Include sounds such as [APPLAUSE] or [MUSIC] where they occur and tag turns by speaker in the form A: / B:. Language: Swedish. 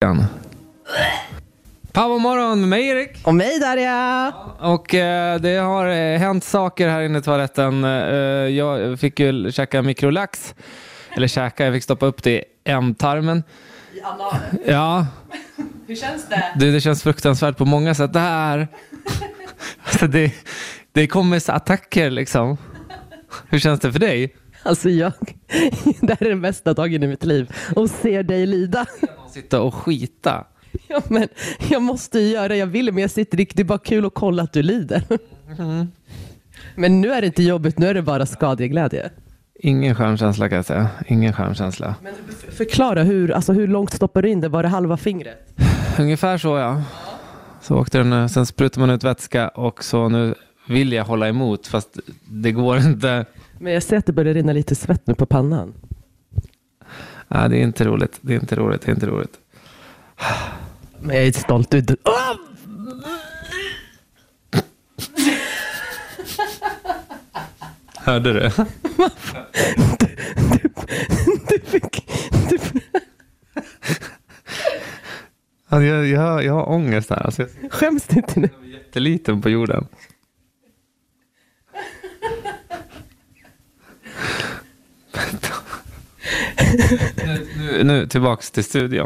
A: veckan. Powermorgon med mig Erik.
B: Och mig Darja!
A: Och eh, det har eh, hänt saker här inne i toaletten. Eh, jag fick ju käka mikrolax. Eller käka, jag fick stoppa upp det i ändtarmen.
C: i analen.
A: Ja,
C: Hur känns det?
A: du, det känns fruktansvärt på många sätt. Det här... [LAUGHS] Alltså det, det kommer så attacker liksom. Hur känns det för dig?
B: Alltså jag, [LAUGHS] det här är den bästa dagen i mitt liv och ser dig lida. [LAUGHS]
A: Sitta och skita.
B: Ja, men jag måste ju göra det jag vill men jag sitter det det är bara kul att kolla att du lider. [LAUGHS] Men nu är det inte jobbigt, nu är det bara skadeglädje.
A: Ingen skärmkänsla kan jag säga. Ingen skärmkänsla.
B: Men f- förklara, hur, alltså hur långt stoppar du in det? Var det halva fingret?
A: Ungefär så ja. Så åkte den, eh, sen sprutade man ut vätska och så nu vill jag hålla emot fast det går inte.
B: Men jag ser att det börjar rinna lite svett nu på pannan.
A: Nej, det är inte roligt, det är inte roligt, det är inte roligt.
B: Men jag är stolt. Du, du, Åh!
A: Hörde du?
B: du [LAUGHS] fick, du,
A: Jag, jag, jag har ångest här. Alltså, jag
B: skäms du inte nu?
A: är jätteliten på jorden. nu, nu, nu tillbaks till studion.